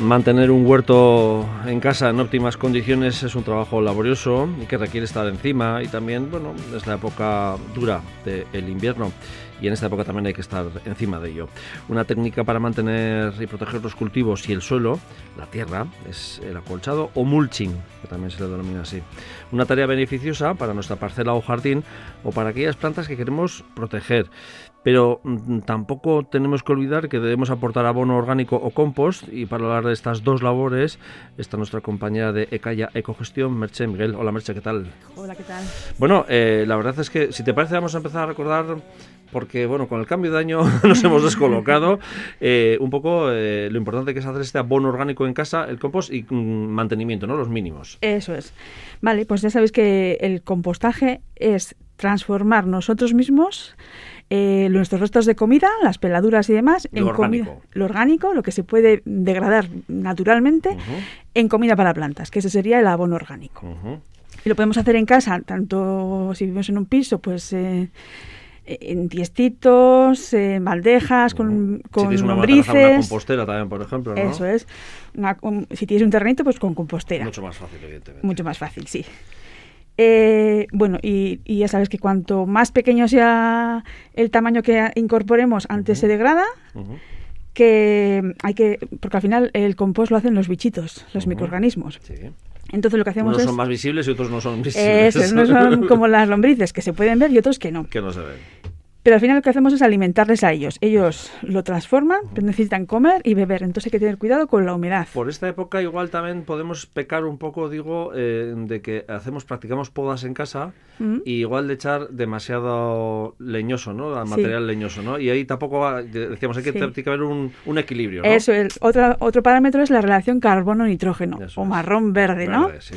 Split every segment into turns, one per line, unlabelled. Mantener un huerto en casa en óptimas condiciones es un trabajo laborioso y que requiere estar encima y también, bueno, es la época dura del de invierno y en esta época también hay que estar encima de ello. Una técnica para mantener y proteger los cultivos y el suelo, la tierra, es el acolchado o mulching, que también se le denomina así. Una tarea beneficiosa para nuestra parcela o jardín o para aquellas plantas que queremos proteger. Pero mm, tampoco tenemos que olvidar que debemos aportar abono orgánico o compost y para hablar de estas dos labores está nuestra compañera de Ecaya Ecogestión, Merche Miguel. Hola Merche, ¿qué tal?
Hola, ¿qué tal?
Bueno, eh, la verdad es que si te parece vamos a empezar a recordar, porque bueno, con el cambio de año nos hemos descolocado eh, un poco eh, lo importante que es hacer este abono orgánico en casa, el compost y mm, mantenimiento, ¿no? Los mínimos.
Eso es. Vale, pues ya sabéis que el compostaje es transformar nosotros mismos eh, nuestros restos de comida, las peladuras y demás,
Lo
en comida,
orgánico.
lo orgánico, lo que se puede degradar naturalmente,
Ujú,
en comida para plantas, que ese sería el abono orgánico.
ujú.
Y lo podemos hacer en casa, tanto si vivimos en un piso, pues eh, en tiestitos, en baldejas, con,
si
con
tienes una buena terraza, una
lombrices.
compostera también, por ejemplo, ¿no?
Eso es. Una- un- si tienes un terrenito, pues con compostera.
Mucho más fácil, evidentemente.
Mucho más fácil, sí. Eh, bueno, y, y ya sabes que cuanto más pequeño sea el tamaño que incorporemos, antes se degrada,
Ujú.
que hay que, porque al final el compost lo hacen los bichitos, los
Ujú.
microorganismos.
Sí.
Entonces lo que hacemos
Unos
es...
son más visibles y otros no son visibles.
Eso es, no son como las lombrices, que se pueden ver y otros que no.
que no se ven.
Pero al final lo que hacemos es alimentarles a ellos. Ellos lo transforman, pero necesitan comer y beber. Entonces hay que tener cuidado con la humedad.
Por esta época igual también podemos pecar un poco, digo, eh, de que hacemos, practicamos podas en casa
¿Mm?
y igual de echar demasiado leñoso, ¿no? A
Sí.
material leñoso, ¿no? Y ahí tampoco va- de- decíamos, hay que,
Sí.
tiene que haber un, un equilibrio, ¿no?
Eso, el, otra- otro parámetro es la relación carbono-nitrógeno,
Eso
o
es.
marrón-verde, ¿no?
Verde, sí.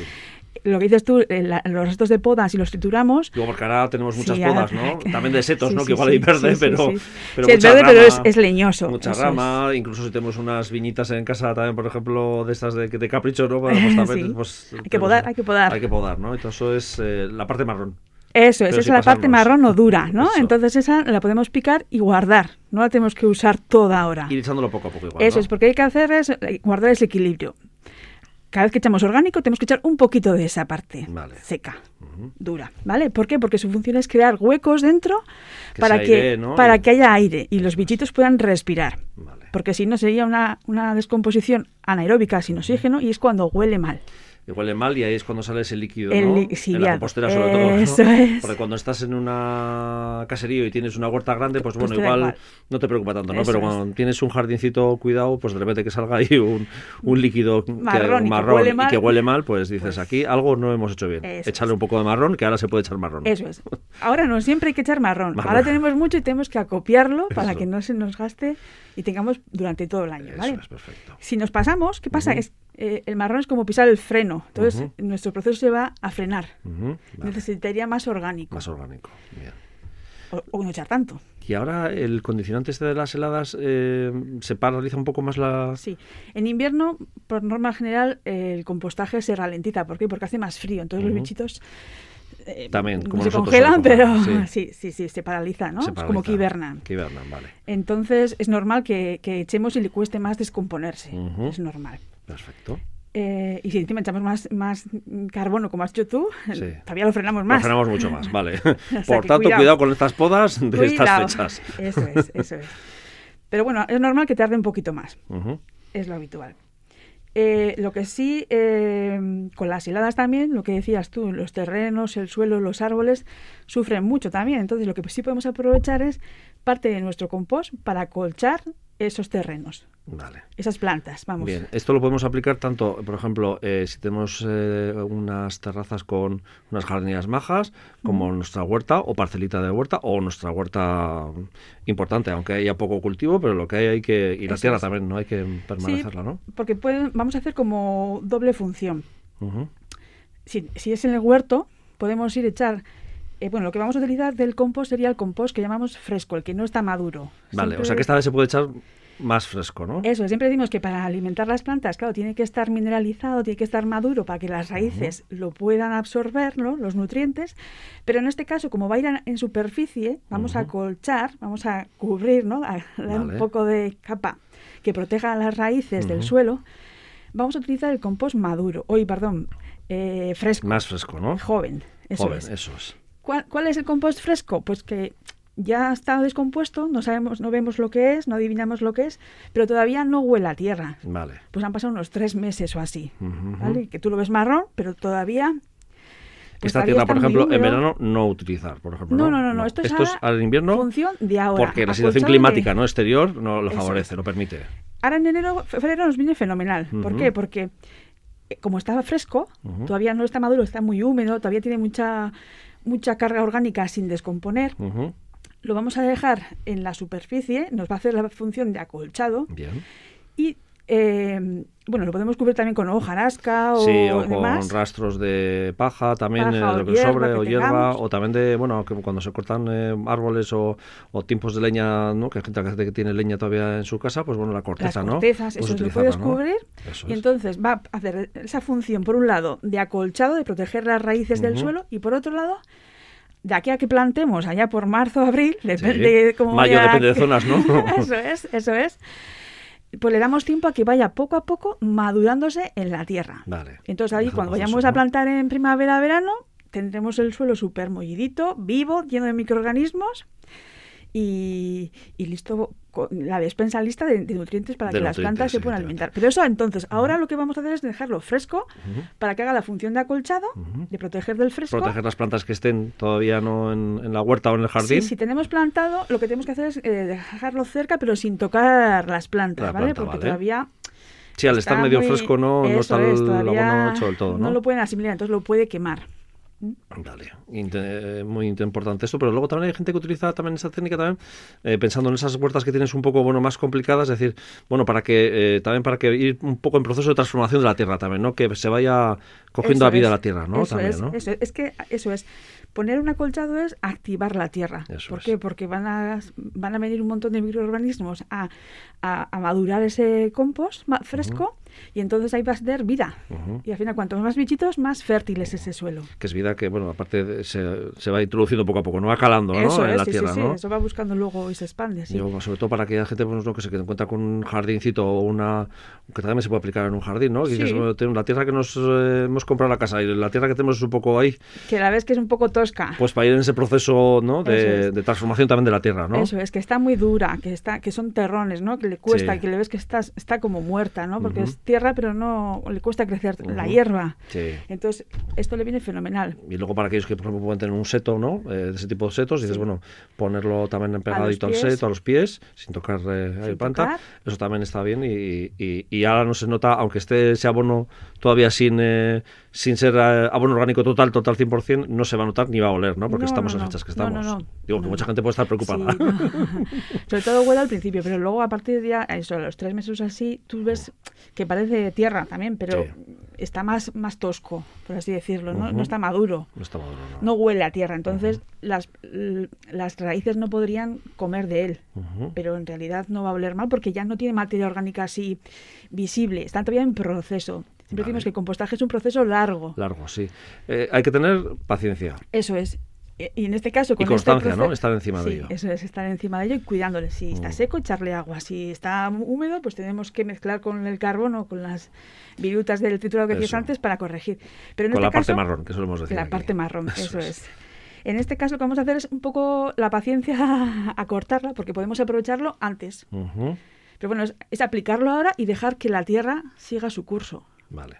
Lo que dices tú, eh, la- los restos de podas, si los trituramos...
Digo, porque ahora tenemos muchas
Sí, ahora-
podas, ¿no? También de setos,
Sí,
¿no?
sí,
que igual
sí,
hay verde,
sí, sí,
pero,
sí.
pero
Sí, es
mucha
verde, pero es,
rama.
es leñoso.
Mucha
eso es.
rama, incluso si tenemos unas viñitas en casa también, por ejemplo, de estas de, de capricho, ¿no? Para- pues, también,
Sí.
pues,
Hay que
tenemos-
podar, hay que podar.
Hay que podar, ¿no? Entonces eso es eh, la parte marrón.
Eso,
Pero
esa es
sin
la parte
pasarnos.
marrón o dura, ¿no?
Eso.
Entonces esa la podemos picar y guardar, no la tenemos que usar toda ahora.
Ir echándolo poco a poco igual,
Ah. Eso
¿no?
es, porque hay que hacer es eh, guardar ese equilibrio. Cada vez que echamos orgánico, tenemos que echar un poquito de esa parte
Vale.
seca,
Ujú.
dura, ¿vale? ¿Por qué? Porque su función es crear huecos dentro
Que
para,
se
que,
airee, ¿no?
para
Y-
que haya aire y los bichitos puedan respirar.
Vale.
Porque si no, sería una, una descomposición anaeróbica sin oxígeno y es cuando huele mal.
Y huele mal y ahí es cuando sale ese líquido,
El
¿no?
li- sí,
en la
ya.
compostera sobre todo. ¿no?
Eso es.
Porque cuando estás en una caserío y tienes una huerta grande, pues
Pues
bueno,
te da
igual,
igual.
no te preocupa tanto, ¿no?
Eso
Pero
es.
cuando tienes un jardincito cuidado, pues de repente que salga ahí un, un líquido que-
Marrón y que
marrón
huele
y
mal.
que huele mal, pues dices,
Pues-
aquí algo no hemos hecho bien.
Eso
Echarle
es.
un poco de marrón, que ahora se puede echar marrón.
Eso es. Ahora no siempre hay que echar marrón.
Marrón.
Ahora tenemos mucho y tenemos que acopiarlo para
Eso.
que no se nos gaste y tengamos durante todo el año,
Eso
¿vale?
es, perfecto.
Si nos pasamos, ¿qué pasa?
Ujú.
Es, eh, el marrón es como pisar el freno. Entonces,
Ujú.
nuestro proceso se va a frenar.
Ujú, vale.
Necesitaría más orgánico.
Más orgánico. Bien.
O, o no echar tanto.
Y ahora el condicionante este de las heladas eh, se paraliza un poco más la...
Sí. En invierno, por norma general, eh, el compostaje se ralentiza. ¿Por qué? Porque hace más frío. Entonces,
Ujú.
los bichitos. eh,
También,
no
como
se
nosotros ahora
congelan,
congelamos,
pero
sí.
sí. sí, sí, se paraliza, ¿no?
se
Es como
paraliza.
que hibernan.
Que hibernan, vale.
Entonces, es normal que, que echemos y le cueste más descomponerse.
Ujú.
Es normal.
Perfecto.
Eh, y si encima echamos más, más carbono, como has dicho tú,
Sí.
todavía lo frenamos
Nos
más.
frenamos mucho más, vale.
sea
Por
que
tanto, cuidado.
cuidado.
con estas podas de
Cuidado.
estas fechas.
Eso es, eso es. Pero bueno, es normal que tarde un poquito más,
Ujú,
es lo habitual. Eh, lo que sí, eh, con las heladas también, lo que decías tú, los terrenos, el suelo, los árboles sufren mucho también. Entonces, lo que sí podemos aprovechar es parte de nuestro compost para colchar esos terrenos,
Vale.
esas plantas, vamos.
Bien, esto lo podemos aplicar tanto, por ejemplo, eh, si tenemos eh, unas terrazas con unas jardineras majas, como nuestra huerta o parcelita de huerta o nuestra huerta importante, aunque haya poco cultivo, pero lo que hay hay que... Y la
Eso
tierra
es.
también, ¿no? Hay que permanecerla, pues ¿no?
Porque pueden, vamos a hacer como doble función.
Ujú,
Si, si es en el huerto, podemos ir a echar. eh, bueno, lo que vamos a utilizar del compost sería el compost que llamamos fresco, el que no está maduro.
Vale,
Siempre-
o sea que este esta vez se puede echar más fresco, ¿no?
Eso, siempre decimos que para alimentar las plantas, claro, tiene que estar mineralizado, tiene que estar maduro para que las raíces lo puedan absorber, ¿no? los nutrientes, pero en este caso, como va a ir a- en superficie, vamos a
Ujú.
colchar, vamos a cubrir, ¿no? a
Vale.
dar un poco de capa que proteja las raíces del
Ujú.
suelo, Vamos a utilizar el compost maduro, hoy, perdón, eh, fresco.
Más fresco, ¿no?
Joven, eso
Joven,
es.
eso es.
¿Cuál, cuál es el compost fresco? Pues que ya está descompuesto, no sabemos, no vemos lo que es, no adivinamos lo que es, pero todavía no huele a tierra.
Vale.
Pues han pasado unos tres meses o así,
Ujú, ujú.
¿vale? Que tú lo ves marrón, pero todavía... pues
Esta
todavía
tierra,
está
por
muy
ejemplo, en
húmedo.
verano no utilizar, por ejemplo.
No, no, no, no, esto es ahora
al invierno
Función de ahora.
porque la situación
Acolchado de-
climática no exterior no lo
Eso
favorece,
es.
lo permite.
Ahora en enero, febrero nos viene fenomenal. ¿Por
Ujú.
qué? Porque eh, como está fresco,
Ujú.
todavía no está maduro, está muy húmedo, todavía tiene mucha mucha carga orgánica sin descomponer,
Ujú,
lo vamos a dejar en la superficie, nos va a hacer la función de acolchado
Bien.
y eh, bueno, lo podemos cubrir también con hojarasca o,
sí, o con
demás.
rastros de paja también,
Paja
eh,
o
de lo que
hierba
sobre,
que
o hierba,
tengamos.
o también de, bueno, que cuando se cortan eh, árboles o, o tiempos de leña, ¿no? Que hay gente que tiene leña todavía en su casa, pues bueno, la
Las
corteza, ¿no?
cortezas,
Pues
eso lo
utilizarla,
puedes
¿no?
cubrir
Eso
y
es.
entonces va a hacer esa función, por un lado, de acolchado, de proteger las raíces del
Ujú.
suelo y por otro lado, de aquí a que plantemos, allá por marzo, abril, depende
Sí.
de cómo
Mayo
vaya-
depende de zonas, ¿no?
eso es, eso es. Pues le damos tiempo a que vaya poco a poco madurándose en la tierra.
Vale.
Entonces ahí
Es un
cuando
proceso,
vayamos
¿no?
a plantar en primavera, verano, tendremos el suelo súper mollidito, vivo, lleno de microorganismos y, y listo, con la despensa lista de, de nutrientes para
De
que las
nutrientes,
plantas se puedan
evidentemente.
alimentar. Pero eso entonces, ahora lo que vamos a hacer es dejarlo fresco para que haga la función de acolchado,
Ujú.
de proteger del fresco.
Proteger las plantas que estén todavía no en, en la huerta o en el jardín.
Sí, si tenemos plantado, lo que tenemos que hacer es eh, dejarlo cerca, pero sin tocar las plantas,
La
¿vale?
planta,
Porque
vale.
todavía
Sí, al estar
Está
medio
muy-
fresco no, no
eso
está el
es,
abono
todavía
hecho del todo, ¿no?
lo pueden asimilar, entonces lo puede quemar.
Vale, Inte- eh, muy inte- importante esto, pero luego también hay gente que utiliza también esa técnica también eh, pensando en esas huertas que tienes un poco bueno más complicadas, es decir, bueno, para que eh, también para que ir un poco en proceso de transformación de la tierra también, ¿no? Que se vaya cogiendo
Eso
la vida
es,
la tierra, ¿no?
Eso
también,
es,
¿no?
eso es, es que eso es. Poner un acolchado es activar la tierra.
Eso
¿Por
es.
qué? Porque van a, van a venir un montón de microorganismos a, a- a madurar ese compost ma- fresco y entonces ahí va a tener vida.
Ujú.
Y al final, cuantos más bichitos, más fértil es ese suelo.
Que es vida que, bueno, aparte de- se, se va introduciendo poco a poco, no va calando, ¿no?
Eso
en
es,
la
sí, sí,
tierra,
sí,
¿no?
Eso va buscando luego y se expande. sí.
Digo, sobre todo para aquella gente pues, no, que se encuentra con un jardincito o una. que también se puede aplicar en un jardín, ¿no? Que
Sí.
dices, bueno, tengo la tierra que nos eh, hemos comprado la casa y la tierra que tenemos es un poco ahí,
Que la ves que es un poco tosca.
pues para ir en ese proceso ¿no? de,
Eso es.
de transformación también de la tierra, ¿no?
Eso es, que está muy dura, que está, que son terrones, ¿no? Que le cuesta,
Sí.
que le ves que está, está como muerta, ¿no? Porque
Ujú.
es tierra, pero no le cuesta crecer la
Ujú.
hierba.
Sí.
Entonces, esto le viene fenomenal.
Y luego para aquellos que por ejemplo pueden tener un seto, ¿no? Eh, de ese tipo de setos, dices, bueno, ponerlo también pegadito al
pies.
seto, a los pies, sin tocar eh, la
Sin
planta,
tocar.
eso también está bien y, y- y ahora no se nota, aunque esté ese abono todavía sin eh, sin ser eh, abono orgánico total, total 100%, no se va a notar ni va a oler, ¿no? Porque
No,
estamos
no,
en las
no.
fechas que
No, no,
estamos.
no.
Digo que
No,
mucha
no.
gente puede estar preocupada.
Sí, no. Sobre todo huele al principio, pero luego a partir de ya, eso, a los tres meses o así, tú ves que parece tierra también, pero
Sí.
está más, más tosco, por así decirlo, ¿no?
Ujú.
No está maduro.
No está maduro, ¿no?
No huele a tierra, entonces las, l- las raíces no podrían comer de él.
Ujú.
pero en realidad no va a oler mal porque ya no tiene materia orgánica así visible, está todavía en proceso. Siempre
Vale.
decimos que el compostaje es un proceso largo.
Largo, sí. Eh, hay que tener paciencia.
Eso es. E- Y en este caso, con
constancia,
este
¿no?
proce-
Estar encima de
Sí,
ello.
Eso es, estar encima de ello y cuidándole. Si
Mm.
está seco, echarle agua. Si está húmedo, pues tenemos que mezclar con el carbono, con las virutas del titulado que decías
Eso.
antes para corregir. Pero en
Con
este
la parte
caso-
marrón, que solemos decir.
La
aquí.
parte marrón, eso, es. En este caso, lo que vamos a hacer es un poco la paciencia a cortarla porque podemos aprovecharlo antes.
Ujú.
Pero bueno, es, es aplicarlo ahora y dejar que la tierra siga su curso.
Vale.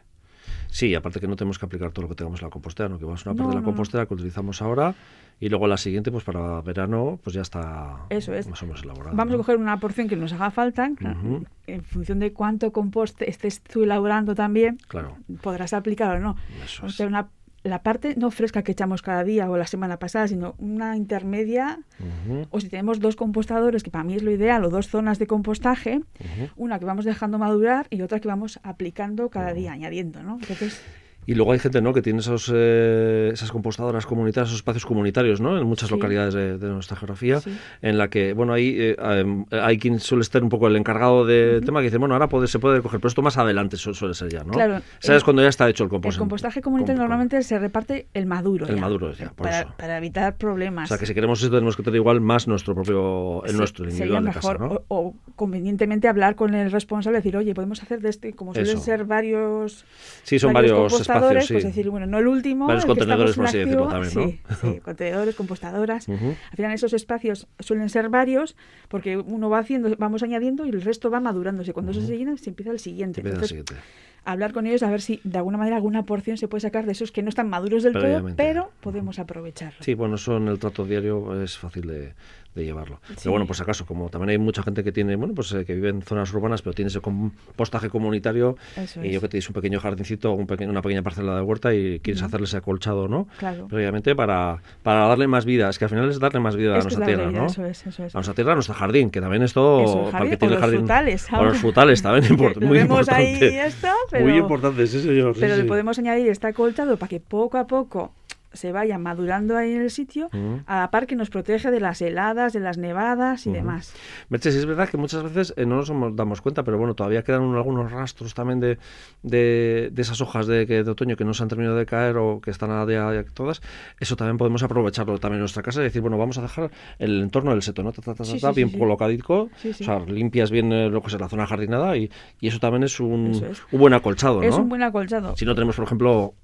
Sí, aparte que no tenemos que aplicar todo lo que tengamos en la compostera, ¿no? que vamos a una parte
No,
de la
no, no.
compostera que utilizamos ahora y luego la siguiente, pues para verano, pues ya está
Eso es.
más o menos elaborada.
Vamos a
¿no?
coger una porción que nos haga falta, cla-
Ujú.
en función de cuánto compost estés tú elaborando también,
Claro,
podrás aplicar o no.
Eso
Vamos a
es.
hacer una- la parte no fresca que echamos cada día o la semana pasada, sino una intermedia,
Ujú,
o si tenemos dos compostadores, que para mí es lo ideal, o dos zonas de compostaje,
ujú.
una que vamos dejando madurar y otra que vamos aplicando cada día, añadiendo, ¿no? Entonces,
Y luego hay gente ¿no? que tiene esos, eh, esas compostadoras comunitarias, esos espacios comunitarios ¿no? en muchas
Sí.
localidades de, de nuestra geografía,
Sí.
en la que, bueno, ahí eh, em, hay quien suele estar un poco el encargado del tema que dice, bueno, ahora puede- se puede recoger, pero esto más adelante su- suele ser ya, ¿no?
Claro,
Sabes
eh,
cuando ya está hecho el Pues compost.
El compostaje comunitario normalmente se reparte el maduro.
El
ya,
maduro ya, por
para,
eso.
para evitar problemas.
O sea, que si queremos esto tenemos que tener igual más nuestro propio, el
pues Se-
nuestro, el
sería
individual de
mejor
casa, ¿no?
o, o convenientemente hablar con el responsable, decir, oye, podemos hacer de este, como suelen
Eso.
ser varios,
Sí, son varios
compostadores,
espacios, sí.
pues decir, bueno, no el último,
Varios
el que
contenedores,
estamos
por
en
así
activo,
decirlo también,
sí, sí, contenedores, compostadoras.
Ujú.
Al final esos espacios suelen ser varios porque uno va haciendo, vamos añadiendo y el resto va madurándose. Cuando eso se llena, se empieza el siguiente.
Que empieza el
Entonces,
siguiente.
hablar con ellos a ver si de alguna manera alguna porción se puede sacar de esos que no están maduros del todo,
Previamente.
pero podemos aprovecharlo.
Sí, bueno, eso en el trato diario es fácil de, de llevarlo.
Sí.
Pero bueno, pues acaso, como también hay mucha gente que tiene, bueno, pues eh, que vive en zonas urbanas, pero tiene ese compostaje comunitario
Eso
y
es.
yo que tenéis un pequeño jardincito, un pequeño- una pequeña parcela de huerta y quieres hacerle ese acolchado, ¿no?
Claro.
Previamente para, para darle más vida. Es que al final es darle más vida a
Es que es
nuestra
la
tierra,
realidad,
¿no?
eso es, eso es.
A nuestra tierra, a nuestro jardín, que también esto...
Eso, el
para
jardín
que tiene
o
el
los frutales,
O
ahora.
los frutales también, import-
Lo
muy
vemos ahí
importante.
esto,
Muy
pero-
importante, sí señor. sí,
Pero le
sí.
podemos añadir este acolchado para que poco a poco se vaya madurando ahí en el sitio,
Ujú.
a la par que nos protege de las heladas, de las nevadas y
Ujú.
demás.
Merche, sí es verdad que muchas veces eh, no nos somos- damos cuenta, pero bueno, todavía quedan un- algunos rastros también de, de, de esas hojas de, que- de otoño que no se han terminado de caer o que están a día ya todas. Eso también podemos aprovecharlo también en nuestra casa y decir, bueno, vamos a dejar el entorno del seto, ¿no? Ta, ta, ta, ta,
Sí,
ta,
sí,
bien
sí, sí.
colocadico,
Sí, sí.
o sea, limpias bien eh, lo que es la zona jardinada y, y eso también es un,
Eso es.
un buen acolchado,
Es
¿no?
un buen acolchado. Pues,
Si no tenemos, por ejemplo,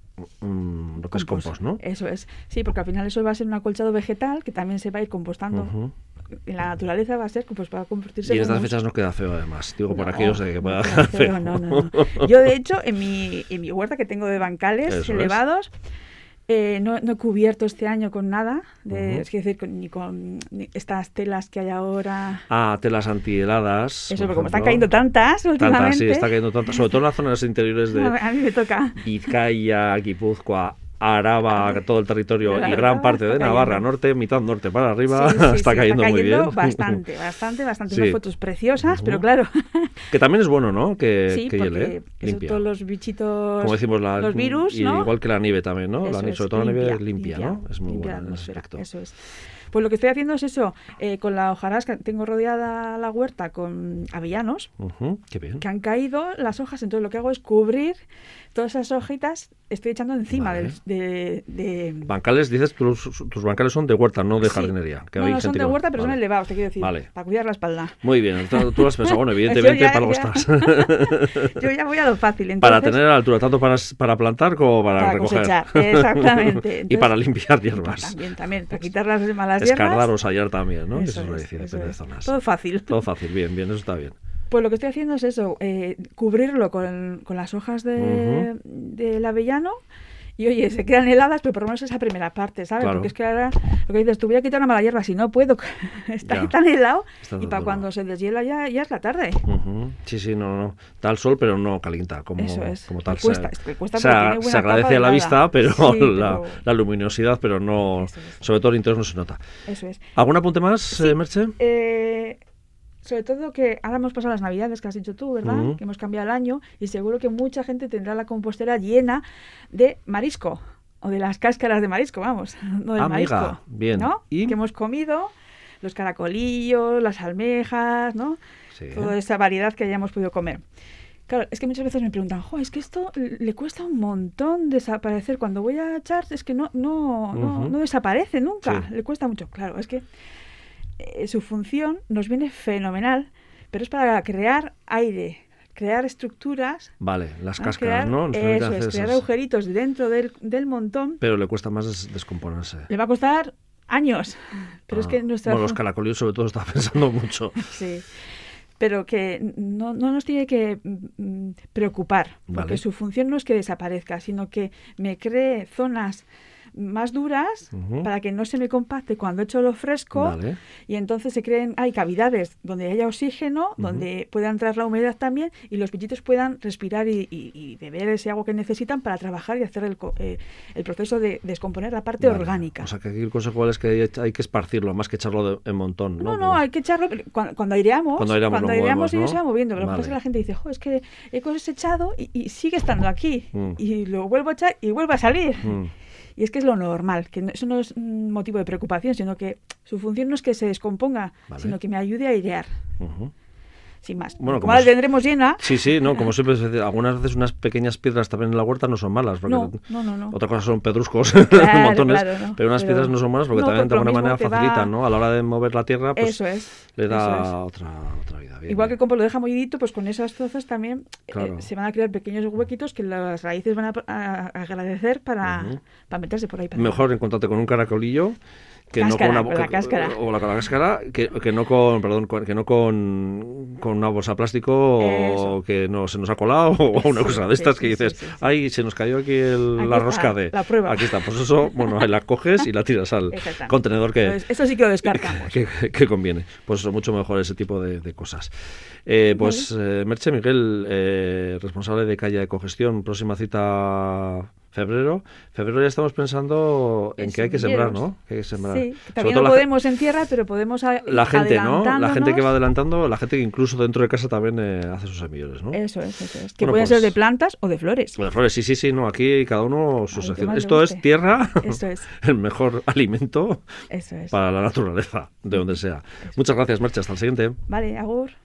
mm, lo que es compost, ¿no?
Eso es. Sí, porque al final eso va a ser un acolchado vegetal que también se va a ir compostando.
Ujú.
En la naturaleza va a ser, pues va a convertirse
Y en
como
estas
un-
fechas no queda feo, además. Digo, por
No,
aquellos de que
no
pueda
queda
quedar
feo,
feo.
no, no, no. Yo, de hecho, en mi, en mi huerta que tengo de bancales
Eso es.
elevados, eh, no, no he cubierto este año con nada, de,
Ujú.
es decir, con- ni con ni estas telas que hay ahora.
Ah, telas antiheladas.
Eso,
por
pero como están
ejemplo.
cayendo tantas últimamente.
Tantas, sí, está cayendo tantas. Sobre todo en las zonas interiores de
A mí me toca.
Vizcaya, Guipúzcoa, Araba, todo el territorio y
Claro,
gran parte de
está
Navarra
cayendo.
Norte, mitad norte para arriba,
Sí, sí, sí,
está cayendo muy bien.
Bastante, bastante, bastante.
Sí.
Unas fotos preciosas, pero
Ujú.
claro.
Que también es bueno, ¿no? Que,
sí,
que hiele,
porque
¿eh?
eso,
limpia.
todos los bichitos.
Como decimos, la,
los virus,
y
¿no?
igual que la nieve también, ¿no? La
Eso
nieve,
es,
sobre todo la nieve limpia, ¿no? Es muy
limpia la
buena en ese
atmósfera,
aspecto.
Eso es. Pues lo que estoy haciendo es eso, eh, con la hojarasca, tengo rodeada la huerta con avellanos
Ujú, qué bien.
que han caído las hojas, entonces lo que hago es cubrir todas esas hojitas, estoy echando encima
Vale.
del, de... de-
Bancales, dices, tus, tus bancales son de huerta, no de
Sí.
jardinería. Que
no,
hay
no, son
gente
de
que-
huerta, pero son
Vale.
elevados, te quiero decir,
Vale.
para cuidar la espalda.
Muy bien, tú tú lo has pensado, bueno,
Yo
evidentemente
ya-
para algo
ya.
estás.
Yo ya voy a lo fácil,
para
entonces...
tener altura, tanto para, s- para plantar como para,
Para
recoger.
cosechar, exactamente.
y
Entonces-
para limpiar
Pues
hierbas.
También, también, para quitar las malas hierbas.
Escardar o sallar también, ¿no? Que
Eso
se suele
es,
decir,
eso
depende de
es.
zonas.
Todo fácil.
Todo fácil, bien, bien, eso está bien.
Pues lo que estoy haciendo es eso, eh, cubrirlo con, con las hojas de, del avellano. Y oye, se quedan heladas, pero por lo menos esa primera parte, ¿sabes?
Claro.
Porque es que ahora lo que dices, tú voy a quitar una mala hierba, si no puedo, está
Ya.
tan helado.
Está
y
tan
para
duro.
cuando se deshiela ya, ya es la tarde.
Ujú. Sí, sí, no, no. Da el sol, pero no calienta. Como,
Eso es.
como tal.
Que cuesta,
se,
es que cuesta
se-
porque tiene buena
se
capa
agradece
de
a la
helada.
vista, pero,
Sí,
la,
pero-
la luminosidad, pero no.
Eso es.
Sobre todo el interior no se nota.
Eso es.
¿Algún apunte más, eh, Merche?
Eh, sobre todo que ahora hemos pasado las navidades que has dicho tú, ¿verdad?
Ujú.
Que hemos cambiado el año y seguro que mucha gente tendrá la compostera llena de marisco o de las cáscaras de marisco, vamos, no del
Amiga,
marisco.
Ah, bien.
¿no?
¿Y?
Que hemos comido los caracolillos, las almejas, ¿no?
Sí.
Toda esa variedad que hayamos podido comer. Claro, es que muchas veces me preguntan, jo, es que esto le cuesta un montón desaparecer. Cuando voy a echar, es que no, no, no,
Ujú.
no desaparece nunca.
Sí.
Le cuesta mucho. Claro, es que eh, su función nos viene fenomenal, pero es para crear aire, crear estructuras.
Vale, las
¿no?
cáscaras,
Crear-
¿no? Nos permiten
Eso
hacer
es, crear
esas.
agujeritos dentro del, del montón.
Pero le cuesta más des- descomponerse.
Le va a costar años. Pero es
Ah,
que nuestra
Bueno, los
fun-
caracolillos sobre todo está pensando mucho.
Sí. Pero que no, no nos tiene que mm, mm, preocupar, porque
Vale.
su función no es que desaparezca, sino que me cree zonas más duras
Ujú.
para que no se me compacte cuando echo lo fresco
Vale.
y entonces se creen, hay cavidades donde haya oxígeno, donde pueda entrar la humedad también y los bichitos puedan respirar y, y- y beber ese agua que necesitan para trabajar y hacer el, co- eh, el proceso de descomponer la parte
Vale.
orgánica.
O sea, que aquí el consejo es que hay- hay que esparcirlo, más que echarlo de- en montón. No,
No, no, hay que echarlo pero cuando, cuando aireamos.
Cuando aireamos lo movemos,
ellos
¿no?
se va moviendo. Pero Lo que
Vale.
pasa es que la gente dice, jo, es que he cosechado y, y sigue estando aquí.
Mm.
Y lo vuelvo a echar y vuelve a salir.
Mm.
Y es que es lo normal, que no- eso no es un motivo de preocupación, sino que su función no es que se descomponga,
Vale.
sino que me ayude a airear,
Ujú.
sin más.
Bueno,
como
como
la
es-
tendremos llena,
Sí, sí, no, como siempre, es decir, algunas veces unas pequeñas piedras también en la huerta no son malas. porque
No, no, no, no.
Otra cosa son pedruscos,
Claro,
montones,
claro, no,
pero unas
pero-
piedras no son malas porque
no,
también de
porque lo
alguna manera
mismo te va-
facilitan, ¿no? A la hora de mover la tierra, pues
eso es.
le
eso es.
da otra, otra vida. Bien,
Igual que
bien.
el compost lo deja mollidito, pues con esas trozas también eh,
Claro.
se van a crear pequeños huequitos que las raíces van a, a- a agradecer para,
Ujú.
para meterse por ahí. Para
Mejor encontrarte con un caracolillo que
Cáscara,
no con una
con la
que-
cáscara.
o la, con la cáscara que, que no con perdón con- que no con, con una bolsa de plástico
Eso.
que no se nos ha colado o una
Sí,
cosa
sí,
de estas
sí,
que
sí,
dices
sí, sí.
ay se nos cayó aquí, el-
Aquí
la
está,
rosca de
la prueba.
aquí está pues eso bueno ahí la coges y la tiras al
Exactamente.
contenedor que
Entonces, eso sí que lo descartamos.
que, que conviene. Pues eso, mucho mejor ese tipo de, de cosas. Eh, pues eh, Merche Miguel, eh, responsable de Calle Ecogestión, próxima cita febrero. Febrero ya estamos pensando en
En
que hay que sembrar,
semilleros.
¿no? Que hay que sembrar.
Sí,
Sobre
también
todo
no
la,
podemos en tierra, pero podemos a- ir
la gente, ¿no? La gente que va
adelantándonos.
adelantando, la gente que incluso dentro de casa también eh, hace sus semilleros, ¿no?
Eso es, eso es. Que
Bueno, pues-
pueden ser de plantas o de flores.
Las flores, sí, sí, sí, no, aquí cada uno su
Al que
sección.
más le
Esto es
guste.
tierra,
Eso es.
el mejor alimento
Eso es.
para la naturaleza, de donde sea. Muchas gracias, Merche, hasta el siguiente.
Vale, agur.